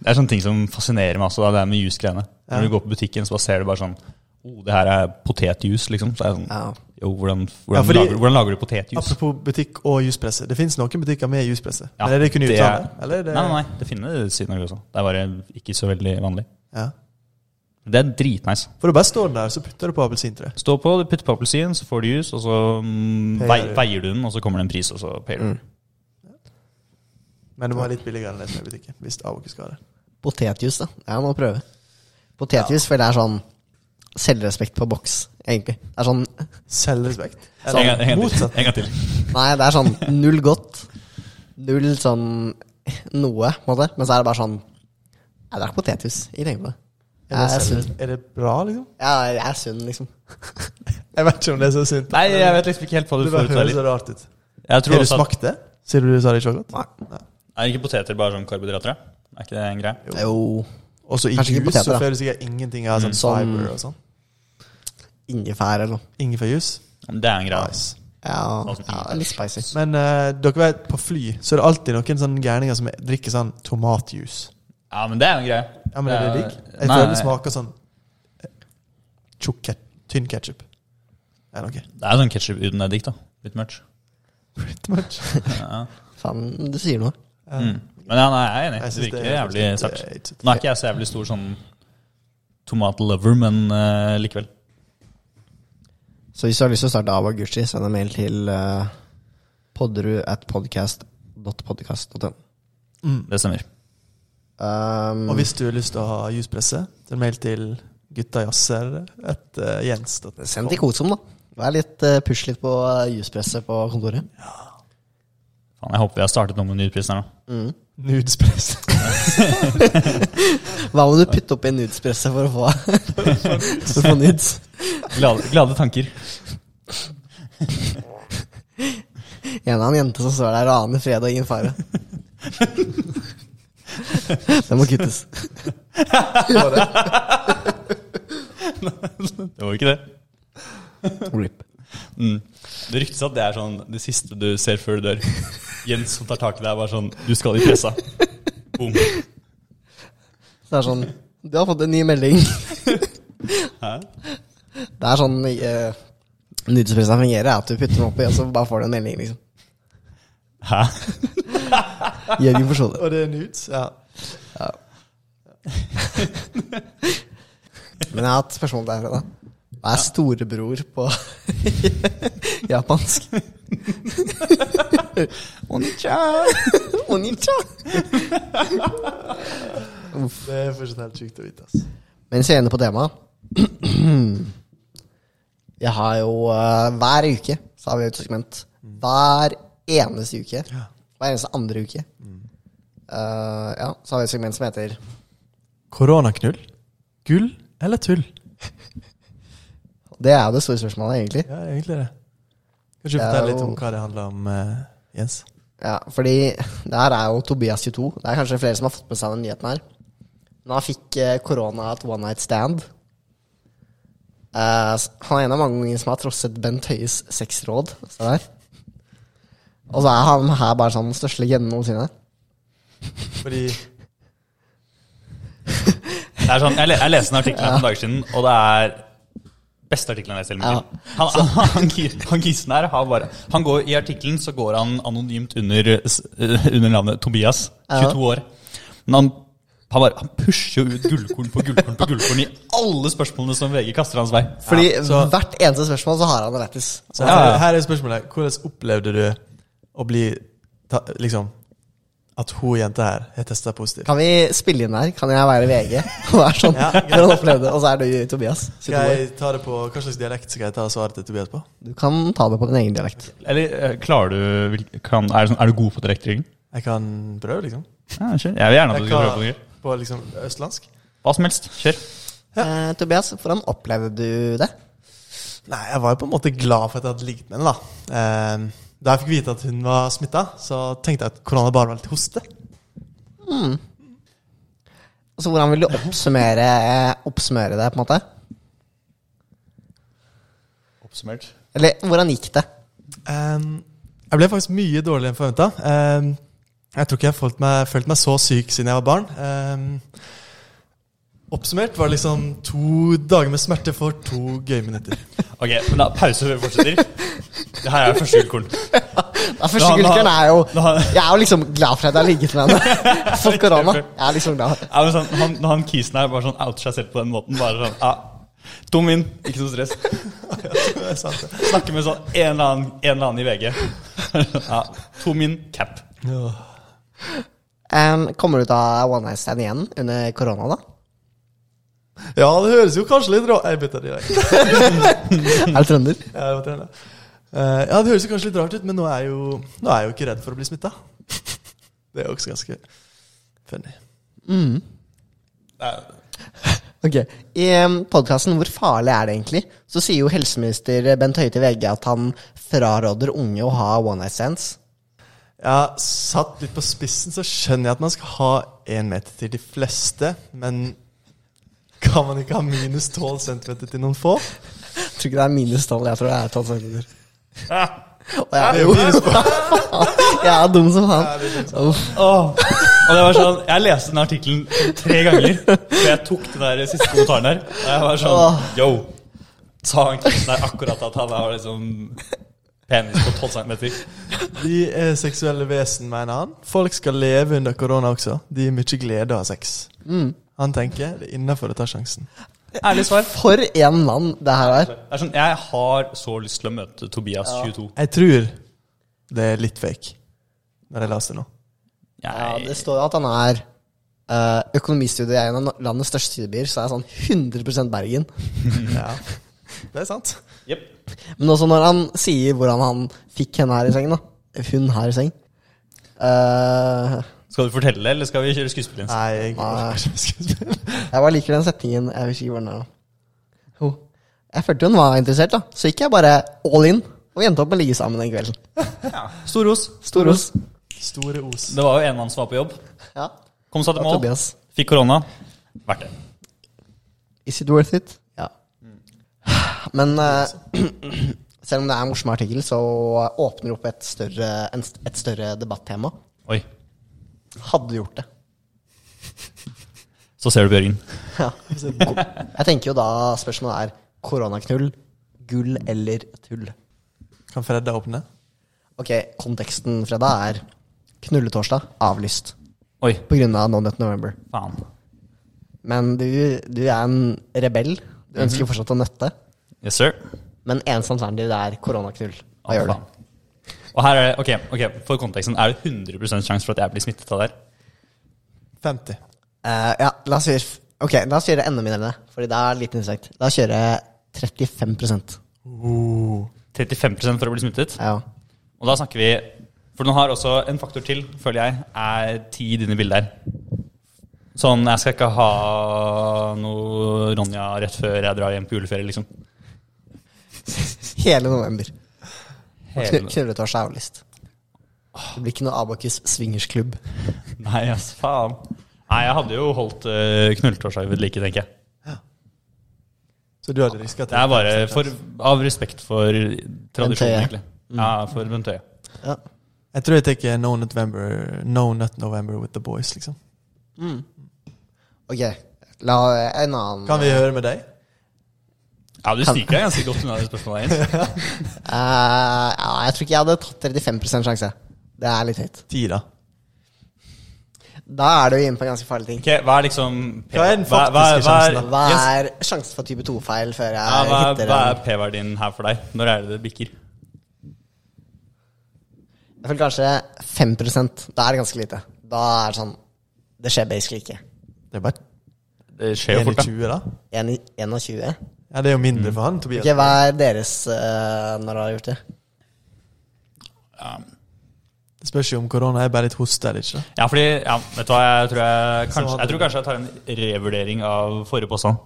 Speaker 3: Det er sånn ting som fascinerer meg også, da, det er med juice-greiene.
Speaker 2: Ja.
Speaker 3: Når du går på butikken, så bare ser du bare sånn oh, det her er potetjuice, liksom. Så er jeg sånn
Speaker 1: Ja.
Speaker 3: jo, hvordan, hvordan,
Speaker 2: fordi-
Speaker 3: lager, hvordan lager du potetjuice?
Speaker 2: Apropos butikk og juspresse. Det fins noen butikker med juspresse.
Speaker 3: Ja,
Speaker 2: men er det kun i
Speaker 3: det-
Speaker 2: utlandet? Eller er det
Speaker 3: Nei, nei, nei, det finnes i Norge også. Det er bare ikke så veldig vanlig.
Speaker 2: Ja.
Speaker 3: Det er dritnice.
Speaker 2: For du bare står den der, så putter du på appelsintre.
Speaker 3: Stå på, du putter på appelsin, så får du juice, og så mm,
Speaker 2: Payer
Speaker 3: vei,
Speaker 2: du.
Speaker 3: veier du den, og så kommer det en pris, og så payer du.
Speaker 2: Men du må ha litt billigere enn det som er i butikken. Hvis av og ikke skal ha det.
Speaker 1: Potetjus, da. Jeg må prøve. Potetjus føler jeg er sånn selvrespekt på boks, egentlig. Det er sånn
Speaker 2: Selvrespekt.
Speaker 3: En, gang, en,
Speaker 2: Eller
Speaker 3: gang til.
Speaker 2: motsatt.
Speaker 3: en gang til.
Speaker 1: Nei, det er sånn null godt. Null sånn noe, på en måte. Men så er det bare sånn Jeg drakk potetjus. Ikke tenk på det.
Speaker 2: Er
Speaker 1: Jeg
Speaker 2: det,
Speaker 1: er sunn.
Speaker 2: selv- er det bra, liksom?
Speaker 1: Ja, jeg er sunn, liksom.
Speaker 2: Jeg vet ikke om det er så sunt.
Speaker 3: Nei, jeg vet liksom ikke helt hva du
Speaker 2: Det
Speaker 3: får
Speaker 2: bare
Speaker 3: ut av
Speaker 2: høres så
Speaker 3: livet.
Speaker 2: rart ut.
Speaker 3: Jeg tror
Speaker 2: Har du
Speaker 3: også at,
Speaker 2: smakt det? Sier du du sa det ikke var godt? Nei.
Speaker 3: er ikke poteter bare sånn karbohydrater? da? Er ikke det en greie?
Speaker 1: Jo.
Speaker 2: Og så i
Speaker 1: Kanskje ikke
Speaker 2: jus
Speaker 1: poteter,
Speaker 2: så
Speaker 1: da.
Speaker 2: får du sikkert ingenting av sånn
Speaker 1: Som-
Speaker 2: fiber og sånn.
Speaker 1: Ingefær eller noe.
Speaker 2: Ingefærjus.
Speaker 3: Det er en greie. ass.
Speaker 2: Nice.
Speaker 1: Ja,
Speaker 3: Altså,
Speaker 1: ja det er litt spicy.
Speaker 2: Men eh, dere vet, på fly så er det alltid noen sånne gærninger som drikker sånn tomatjus.
Speaker 3: Ja, men det er en greie.
Speaker 2: Ja, men er det digg? Jeg
Speaker 3: Eh, Nei,
Speaker 2: føler det smaker sånn eh, tjukk ke- tynn ketsjup. Er det noe?
Speaker 3: Det er sånn ketsjup uten eddik, da. Litt much.
Speaker 2: Pretty much.
Speaker 3: Ja.
Speaker 1: Faen, du sier noe.
Speaker 3: Mm. Men ja, nei, jeg er enig.
Speaker 2: Jeg
Speaker 3: Det
Speaker 2: synes
Speaker 3: virker
Speaker 2: det er
Speaker 3: jævlig
Speaker 2: faktisk
Speaker 3: sterkt.
Speaker 2: litt, eh,
Speaker 3: Nå er ikke jeg så jævlig stor sånn tomatlover, men eh, likevel.
Speaker 1: Så hvis du har lyst til å starte Ava Gucci, send en mail til uh, podderud at podcast.podcast.no.
Speaker 3: Det stemmer.
Speaker 1: Um,
Speaker 2: Mm. Og hvis du har lyst til å ha juspresse, send mail til guttajazzer at uh, jens.
Speaker 1: send til Kosom, da. Vær litt, eh, push litt på eh, juspresset på kontoret.
Speaker 3: Faen, jeg håper vi har startet noe med nyprisen her nå.
Speaker 2: Nudespress.
Speaker 1: Hva må du putte oppi nudespresset for å få, for å få nudes?
Speaker 3: Glade, glade tanker.
Speaker 1: En av en jente som står der og aner fred og ingen fare. Det må kuttes.
Speaker 3: Det var jo ikke det.
Speaker 1: Rip.
Speaker 3: Mm. Det ryktes at det er sånn det siste du ser før du dør. Jens som tar tak i deg, er bare sånn Du skal i pressa. Boom.
Speaker 1: Så det er sånn Du har fått en ny melding.
Speaker 3: Hæ?
Speaker 1: Det er sånn uh, nyhetspressa fungerer, er at du putter den oppi, og så bare får du en melding, liksom.
Speaker 3: Hæ?
Speaker 1: Jørgen forstår det.
Speaker 2: Og det er nudes? Ja.
Speaker 1: Men jeg har et spørsmål til deg, Freda. Hva er storebror på japansk? Onicha. Onicha.
Speaker 2: Det er fortsatt helt sjukt å vite. ass.
Speaker 1: Mens vi er inne på temaet Jeg har jo eh, hver uke Så har vi et segment Hver eneste uke Hver eneste andre uke Eh, Ja, så har vi et segment som heter
Speaker 2: Koronaknull? Gull eller tull?
Speaker 1: Det er jo det store spørsmålet egentlig
Speaker 2: Ja, egentlig det. Kan du
Speaker 1: Det er
Speaker 2: fortelle litt
Speaker 1: jo-
Speaker 2: om hva det handler om, eh, Jens?
Speaker 1: Ja, fordi det her er jo Tobias 22 Det er kanskje flere som har fått med seg den nyheten her Men han fikk eh, korona av et one night stand Eh, s- Han er en av mange ganger som har trosset Bent Høies sexråd Se der Og så er han her bare sånn den største legenden noensinne
Speaker 2: Fordi
Speaker 3: Det er sånn, jeg, le, jeg leste en artikkel her for noen dager siden, og det er beste artikkelen jeg har lest i hele mitt liv. Han, han, han, gi- han gisen her har bare han går, I artikkelen så går han anonymt under, s- eh, under navnet Tobias, 22 år. Men han, han, bare, han pusher jo ut gullkorn på gullkorn på gullkorn i alle spørsmålene som VG kaster hans vei.
Speaker 1: Fordi
Speaker 2: så-
Speaker 1: hvert eneste spørsmål så har han det rettis.
Speaker 2: så
Speaker 3: Ja, ja.
Speaker 2: her, her er spørsmålet. Hvordan opplevde du å bli ta, Liksom At hun jenta her har testa positivt?
Speaker 1: Kan vi spille inn der? Kan jeg være VG? Og være sånn,
Speaker 2: Ja, greit.
Speaker 1: for han opplevde, Og så er du Tobias. sitt
Speaker 2: Skal
Speaker 1: ord.
Speaker 2: jeg ta det på, Hva slags dialekt skal jeg ta svaret til Tobias på?
Speaker 1: Du kan ta det på din egen dialekt.
Speaker 3: Eller eh, klarer du vil- kan, er, det sånn, er du god på direkteringing?
Speaker 2: Jeg kan prøve, liksom.
Speaker 3: Ja, kjør. Jeg vil gjerne at du
Speaker 2: Jeg
Speaker 3: skal prøve på
Speaker 2: kan,
Speaker 3: noe. gøy.
Speaker 2: på liksom østlandsk?
Speaker 3: Hva som helst. Kjør.
Speaker 1: Eh, Tobias, hvordan opplevde du det?
Speaker 2: Nei, jeg var jo på en måte glad for at jeg hadde ligget med henne. Da Ehm, Da jeg fikk vite at hun var smitta, så tenkte jeg at korona bare var litt hoste.
Speaker 1: Altså, Hvordan vil du oppsummere, eh, oppsummere det? på en måte?
Speaker 3: Oppsummert.
Speaker 1: Eller hvordan gikk det?
Speaker 2: Ehm, jeg ble faktisk mye dårligere enn forventa. jeg tror ikke jeg har følt meg, følt meg så syk siden jeg var barn. Ehm, oppsummert var det liksom to dager med smerte for to gøye minutter.
Speaker 3: Ok, men da pause før vi fortsetter. Det her er første gullkorn.
Speaker 1: Ja, første
Speaker 3: Da- da-
Speaker 1: gullkorn er jo
Speaker 3: da-
Speaker 1: Jeg er jo liksom glad for at jeg har ligget med henne. Fått korona. Jeg er liksom glad.
Speaker 3: Ja, men sånn, han, når han kisen her bare sånn outer seg selv på den måten Bare sånn, ja, tom inn, ikke noe stress
Speaker 2: Det er sant, det.
Speaker 3: Snakker med sånn en eller annen, en eller annen i VG Ja, tom inn, cap
Speaker 2: Ja.
Speaker 1: Em, kommer du til å ha one night stand igjen under korona, da?
Speaker 2: Ja, det høres jo kanskje litt rart Jeg bytter direkte.
Speaker 1: Er du trønder?
Speaker 2: Ja, det var trevlig. Eh, ja, det høres jo kanskje litt rart ut, men nå er jeg jo, nå er jeg jo ikke redd for å bli smitta. Det er jo også ganske funny.
Speaker 1: Ok, I podkasten 'Hvor farlig er det egentlig?' så sier jo helseminister Bent Høie til VG at han fraråder unge å ha one night stands.
Speaker 2: Ja, satt litt på spissen, så skjønner jeg at man skal ha én meter til de fleste, men kan man ikke ha minus 12 centimeter til noen få?
Speaker 1: Jeg tror ikke det er minus tolv. Jeg tror det er tolv centimeter. Og
Speaker 2: Det
Speaker 1: jeg,
Speaker 2: er jo minus 12.
Speaker 1: jeg er dum som han. Uff.
Speaker 3: Åh. Og det var sånn, jeg leste den artiklen sånn tre ganger Før jeg tok den der siste kommentaren her Og jeg var sånn, yo Sa han kisen her akkurat at han har liksom Penis på 12 centimeter
Speaker 2: Vi er eh, seksuelle vesen, mener han. Folk skal leve under korona også. De gir mye glede av sex. Han tenker det er innafor å ta sjansen.
Speaker 3: Ærlig svar
Speaker 1: For en mann det her er.
Speaker 3: Det er sånn, jeg har så lyst til å møte Tobias 22
Speaker 2: Jeg tror det er litt fake, når jeg leser det nå.
Speaker 1: Ja, det
Speaker 3: Jeg,
Speaker 1: står jo at han er uh, økonomistudie i en av landets største studiebyer, så er han sånn 100 Bergen.
Speaker 2: Ja, det er sant.
Speaker 3: jep
Speaker 1: Men også når han sier hvordan han fikk henne her i sengen, da. Hun her i seng. Eh,
Speaker 3: Skal du fortelle det, eller skal vi kjøre skuespill inn?
Speaker 2: Nei, jeg Nei.
Speaker 1: Jeg bare liker den setningen. Jeg husker ikke hvor den er nå. Jo. Jeg følte hun var interessert, da. Så gikk jeg bare all in og endte opp med å ligge sammen den kvelden.
Speaker 3: Stor ros.
Speaker 1: Storos.
Speaker 2: Store os.
Speaker 3: Det var jo en mann som var på jobb.
Speaker 1: Ja.
Speaker 3: Kom seg til
Speaker 1: Ja,
Speaker 3: mål.
Speaker 1: Tobias.
Speaker 3: Fikk korona. Verdt det.
Speaker 1: Is it worth it? Ja. Men eh, selv om det er en morsom artikkel, så eh, åpner det opp et større, en, st- et større debattema.
Speaker 3: Oi.
Speaker 1: Hadde gjort det.
Speaker 3: Så ser du Bjørgen.
Speaker 1: Ja. Jeg tenker jo da spørsmålet er koronaknull, gull eller tull?
Speaker 2: Kan Fredda åpne?
Speaker 1: Ok, konteksten, Freda, er knulletorsdag avlyst
Speaker 3: Oi.
Speaker 1: på grunn av No Nut November.
Speaker 3: Faen.
Speaker 1: Men du, du er en rebell. Du ønsker
Speaker 3: Mhm.
Speaker 1: fortsatt å nøtte.
Speaker 3: Yes, sir.
Speaker 1: Men eneste alternativ det er koronaknull. Hva
Speaker 3: Å,
Speaker 1: gjør du?
Speaker 3: faen. Og her er det, ok, ok, For konteksten, er det 100 sjanse for at jeg blir smittet av det her?
Speaker 2: 50.
Speaker 1: Eh, ja, la oss gjøre Ok, la oss gjøre enda mindre enn det. Fordi det er liten innsekt. La oss gjøre 35
Speaker 2: Oh.
Speaker 3: 35 for å bli smittet?
Speaker 1: Ja.
Speaker 3: Og da snakker vi For den har også en faktor til, føler jeg, er tid inne i bildet her. Sånn, jeg skal ikke ha noe Ronja rett før jeg drar hjem på juleferie, liksom.
Speaker 1: Hele november.
Speaker 3: Hele-
Speaker 1: Knu- Knulletorsdag er avlyst. Det blir ikke noe Abakus swingersklubb.
Speaker 3: Nei, ass, faen. Nei, jeg hadde jo holdt uh, knulletorsdag ved like, tenker jeg.
Speaker 2: Så du hadde riska
Speaker 3: Det er bare for, av respekt for
Speaker 1: Bent
Speaker 3: tradisjonen,
Speaker 1: Høie.
Speaker 3: egentlig. Ja, for Bent Høie.
Speaker 1: Ja.
Speaker 2: Jeg tror jeg tar No Nut November, no Nut November with the boys, liksom.
Speaker 1: Ok, la en annen
Speaker 2: Kan vi høre med deg?
Speaker 3: Ja, du sniker deg ganske godt unna det spørsmålet. Jens.
Speaker 1: Eh, ja, Jeg tror ikke jeg hadde tatt 35 sjanse. Det er litt høyt.
Speaker 2: Ti, da.
Speaker 1: Da er du inne på en ganske farlig ting.
Speaker 3: Ok, hva er liksom
Speaker 2: Hva er den
Speaker 3: hva-
Speaker 2: faktiske
Speaker 3: hva- hva er-
Speaker 2: sjansen,
Speaker 1: Hva
Speaker 3: Jens,
Speaker 1: er sjansen for type 2-feil før jeg
Speaker 3: ja, hva, er-
Speaker 1: hitter
Speaker 3: hva
Speaker 1: en
Speaker 3: er p-verdien her for deg? Når er det det bikker?
Speaker 1: Jeg føler kanskje 5 Da er det ganske lite. Da er det sånn Det skjer basically ikke.
Speaker 2: Det er bare
Speaker 3: Det skjer
Speaker 2: 1
Speaker 3: jo
Speaker 2: i
Speaker 3: fort, da. Mm.
Speaker 2: 20, da.
Speaker 1: 1 i 21.
Speaker 2: Ja, det er jo mindre for han, Tobias.
Speaker 1: Ok, hva er deres eh, når dere har gjort det?
Speaker 2: Det spørs jo om korona er bare litt hoste eller ikke. da.
Speaker 3: Ja, fordi, ja, vet du hva, jeg tror, jeg, kanskje,
Speaker 2: hadde
Speaker 3: jeg tror
Speaker 2: du-
Speaker 3: kanskje jeg tar en revurdering av forrige påstand.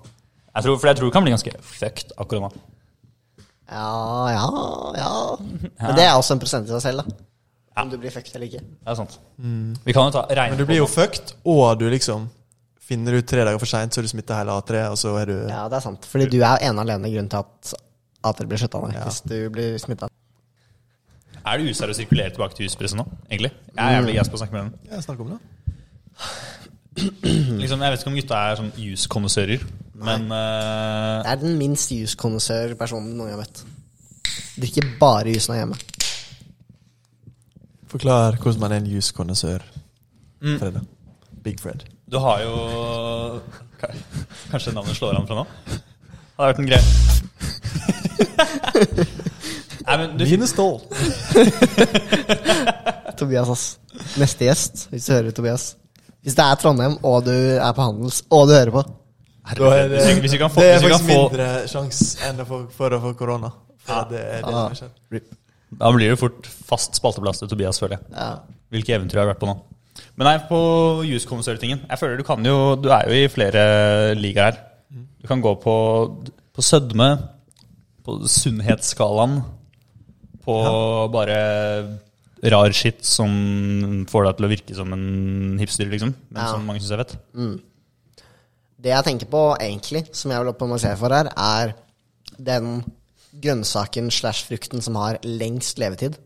Speaker 3: Jeg tror, for jeg tror det kan bli ganske fucked av korona.
Speaker 1: Ja, ja, ja Men det er også en prosent i seg selv, da. Om du blir fucked eller ikke.
Speaker 3: Det er sant. Vi kan jo ta regne
Speaker 2: Mm. Men du blir jo fucked, og du liksom finner ut tre dager for seint, så er du smitta hele A3, og så er du
Speaker 1: Ja, det er sant. Fordi du er ene og alene grunnen til at, at dere blir skjøtta ned hvis du blir smitta.
Speaker 3: Er det useriøst å sirkulere tilbake til huspressen nå, egentlig? Jeg er jævlig gæsp på å snakke med dem.
Speaker 2: Ja, snakk om det.
Speaker 3: Liksom, jeg vet ikke om gutta er sånn juskondisører, men eh,
Speaker 1: Det er den minst juskonnissør-personen du noen gang har møtt. Drikker bare jusen av hjemme.
Speaker 2: Forklar hvordan man er en juskonnessør,
Speaker 3: Mm.
Speaker 2: Fred. Big Fred.
Speaker 3: du har jo Kanskje navnet slår an fra nå? Hadde vært en greie. Nei, men du,
Speaker 2: Mine stål.
Speaker 1: Tobias, ass. Neste gjest, hvis du hører Tobias. Hvis det er Trondheim, og du er på Handels, og du hører på
Speaker 3: Hvis vi- hvis vi kan få-
Speaker 2: det er
Speaker 3: hvis vi kan
Speaker 2: faktisk
Speaker 3: få-
Speaker 2: mindre sjanse enn å få, for å få korona. For det er det
Speaker 1: Ja.
Speaker 2: som skjer.
Speaker 3: Da blir det fort fast spalteplass til Tobias, føler jeg.
Speaker 1: ja.
Speaker 3: Hvilke eventyr har jeg vært på nå? Men nei, på juskonsørtingen. Jeg føler du kan jo Du er jo i flere ligaer her. Du kan gå på, på sødme, på sunnhetsskalaen, på bare rar shit som får deg til å virke som en hipster, liksom. Men
Speaker 1: Ja.
Speaker 3: som mange syns er fett.
Speaker 1: Det jeg tenker på egentlig, som jeg vil optimalisere for her, er den grønnsaken slash frukten som har lengst levetid.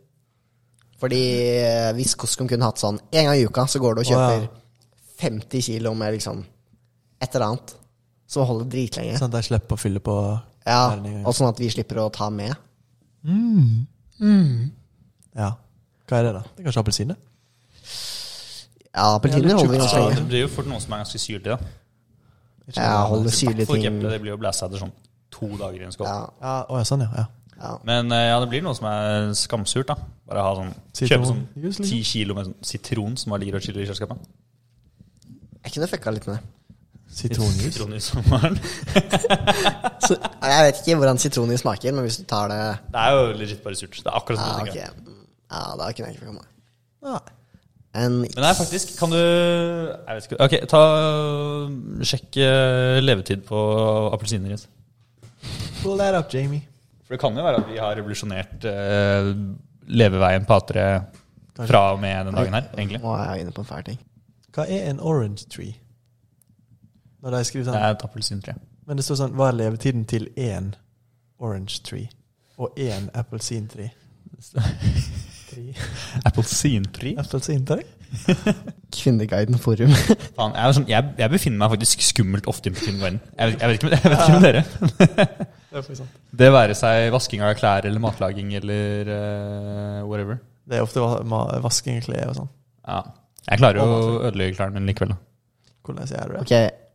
Speaker 1: Fordi eh, hvis Koskom kunne hatt sånn en gang i uka, så går du og
Speaker 2: Å, ja.
Speaker 1: kjøper 50 kilo med liksom et eller annet som holder dritlenge.
Speaker 2: Sånn at de slipper å fylle på
Speaker 1: Ja,
Speaker 2: næringen.
Speaker 1: og sånn at vi slipper å ta med.
Speaker 2: ja. Hva er det, da? Det er kanskje appelsiner?
Speaker 1: Ja, appelsiner holder vi ganske
Speaker 3: Så
Speaker 1: lenge.
Speaker 3: det blir jo fort noen som er ganske syrlige, da.
Speaker 2: Ikke
Speaker 1: Ja,
Speaker 2: det.
Speaker 1: holder
Speaker 3: I hvert
Speaker 1: syrlige
Speaker 3: fall ikke
Speaker 1: ting.
Speaker 3: eple, Det blir jo blæsta etter sånn to dager i en skål.
Speaker 1: Ja,
Speaker 2: Ja, å, ja, sånn, ja. ja.
Speaker 1: ja.
Speaker 3: Men eh, ja, det blir noe som er skamsurt, da. Bare ha sånn
Speaker 2: Sitron.
Speaker 3: Kjøpe sånn
Speaker 2: Just liksom.
Speaker 3: ti kilo med sånn sitron som bare ligger og chiller i kjøleskapet.
Speaker 1: Jeg kunne fucka litt med det.
Speaker 2: Sitronjus.
Speaker 3: Sitronjus om morgenen.
Speaker 1: Så, jeg vet ikke hvordan sitronjus smaker, men hvis du tar det
Speaker 3: Det er jo legit bare surt. Det er akkurat
Speaker 1: Ja,
Speaker 3: sånn
Speaker 1: Ah, ok. Ja,
Speaker 3: jeg tenker.
Speaker 1: da kunne jeg ikke fucka med det.
Speaker 2: Ja.
Speaker 1: En
Speaker 3: Men nei, faktisk, kan du Jeg vet ikke. Ok, ta Sjekk eh, levetid på appelsiner. Jens.
Speaker 2: Pull that up, Jamie.
Speaker 3: For det kan jo være at vi har revolusjonert eh, leveveien på A3 fra og med den dagen her, egentlig.
Speaker 1: Nå er jeg inne på en fæl ting.
Speaker 2: Hva er en orange tree? Når de skriver
Speaker 3: Det
Speaker 2: sånn
Speaker 3: er et appelsintre.
Speaker 2: Men det står sånn Hva er levetiden til én orange tree? Og én appelsintre?
Speaker 3: Appelsintre?
Speaker 2: Appelsintre?
Speaker 1: Kvinneguiden forum.
Speaker 3: Faen, jeg, er sånn, jeg, jeg befinner meg faktisk skummelt ofte inne på Kvinneguiden. Jeg, vet- jeg vet ikke, jeg vet ikke om dere.
Speaker 2: Det er faktisk sant.
Speaker 3: Det være seg vasking av klær eller matlaging eller eh, whatever.
Speaker 2: Det er ofte va- ma- vasking av klær og sånn.
Speaker 3: Ja. Jeg klarer jo å ødelegge klærne mine likevel. da.
Speaker 2: Hvordan gjør du det?
Speaker 1: Ok,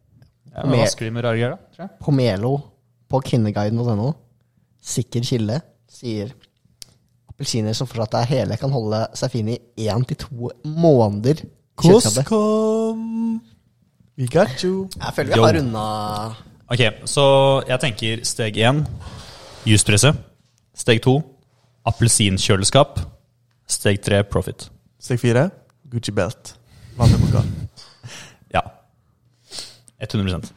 Speaker 3: Jeg
Speaker 1: Mer-
Speaker 3: vasker de med rare greier, da. Tror jeg.
Speaker 1: Pomelo på kvinneguiden.no, sikker kilde, sier appelsiner som fortsatt er hele, kan holde seg fine i én til to måneder. i kjøleskapet.
Speaker 2: Koskom! We got you!
Speaker 1: Jeg føler vi har
Speaker 3: Yo.
Speaker 1: runda
Speaker 3: Ok, så jeg tenker steg én juspresse. Steg to appelsinkjøleskap. Steg tre profit.
Speaker 2: Steg fire Gucci belt. Vanneblokka.
Speaker 3: Ja. 100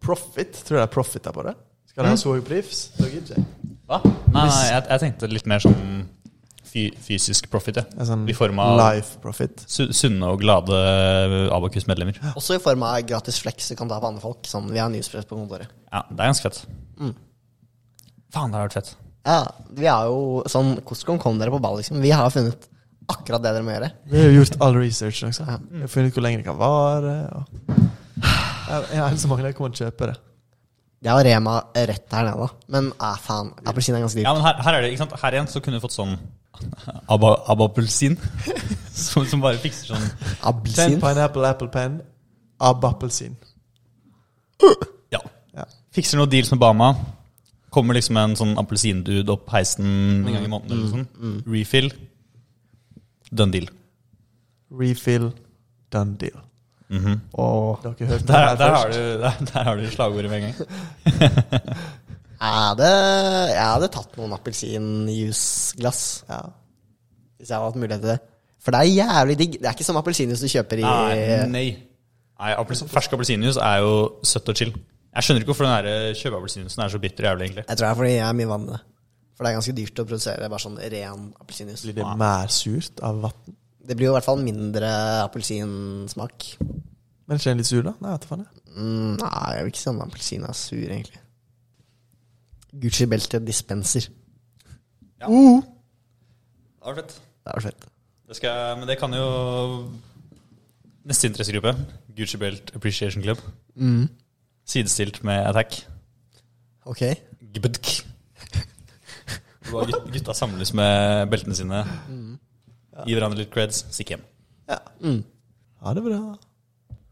Speaker 2: Profit? Tror jeg det er profit der på det. Skal de ha så høy pris? Så gidder jeg ikke.
Speaker 3: Hva? Nei, nei jeg, jeg tenkte litt mer sånn fy, fysisk profit,
Speaker 2: En
Speaker 3: jeg.
Speaker 2: sånn
Speaker 3: I form av
Speaker 2: life profit.
Speaker 3: su sunne og glade Abakus-medlemmer.
Speaker 1: Også i form av gratis flex du kan ta på andre folk. Sånn, vi har nyhetspress på kontoret.
Speaker 3: Ja, det er ganske fett. Faen, det har vært fett.
Speaker 1: Ja, vi har jo sånn Hvordan kom dere på ball, liksom? Vi har funnet akkurat det dere må gjøre.
Speaker 2: Vi har jo gjort all researchen også. Vi har funnet ut hvor lenge det kan vare. Og... Jeg, jeg er så mange jeg kommer til å kjøpe det.
Speaker 1: Det var Rema rett her nede, da. Men ah, faen, appelsin er ganske dyrt.
Speaker 3: Ja, men her, her er det, ikke sant? Her igjen så kunne du fått sånn abba- abapelsin, som, som bare fikser sånn
Speaker 2: Ten
Speaker 1: Appelsin?
Speaker 2: pineapple apple pen ab appelsin.
Speaker 3: Ja.
Speaker 2: Ja.
Speaker 3: Fikser noen deals med Bama. Kommer liksom en sånn appelsindude opp heisen en gang i måneden. eller sånn. Refill. Done deal.
Speaker 2: Refill, done deal.
Speaker 3: Mm-hmm.
Speaker 1: Og
Speaker 2: Dere hørte det
Speaker 3: Der,
Speaker 2: her
Speaker 3: der, har
Speaker 2: først.
Speaker 3: du, der, der har du slagordet med en gang.
Speaker 1: er det Jeg hadde tatt noen appelsinjusglass
Speaker 2: Ja.
Speaker 1: hvis jeg hadde hatt mulighet til det. For det er jævlig digg. Det er ikke som appelsinjuice du kjøper i
Speaker 3: Nei, nei. nei appels- Fersk appelsinjuice er jo søtt og chill. Jeg skjønner ikke hvorfor den der eh, kjøpeappelsinjuicen er så bitter jævlig, egentlig.
Speaker 1: Jeg tror det er fordi jeg er mye vann med det. For det er ganske dyrt å produsere bare sånn ren appelsinjuice.
Speaker 2: Blir det mer surt av vann?
Speaker 1: Det blir jo i hvert fall mindre appelsinsmak.
Speaker 2: Men er ikke den litt sur, da? Nei, vet du faen. jeg.
Speaker 1: Mm, nei, jeg vil ikke si om appelsin er sur, egentlig. Gucci-belte dispenser.
Speaker 3: Det var fett.
Speaker 1: Det er jo fett.
Speaker 3: Det skal, jeg- men det kan jo Neste interessegruppe, Gucci Belt Appreciation Club, sidestilt med Attack.
Speaker 1: Ok.
Speaker 3: Gbdk. Hvor gut- Gutta samles med
Speaker 1: Mm.
Speaker 3: beltene sine. Gi hverandre litt creds, stikk hjem.
Speaker 2: Ja. Ha det bra.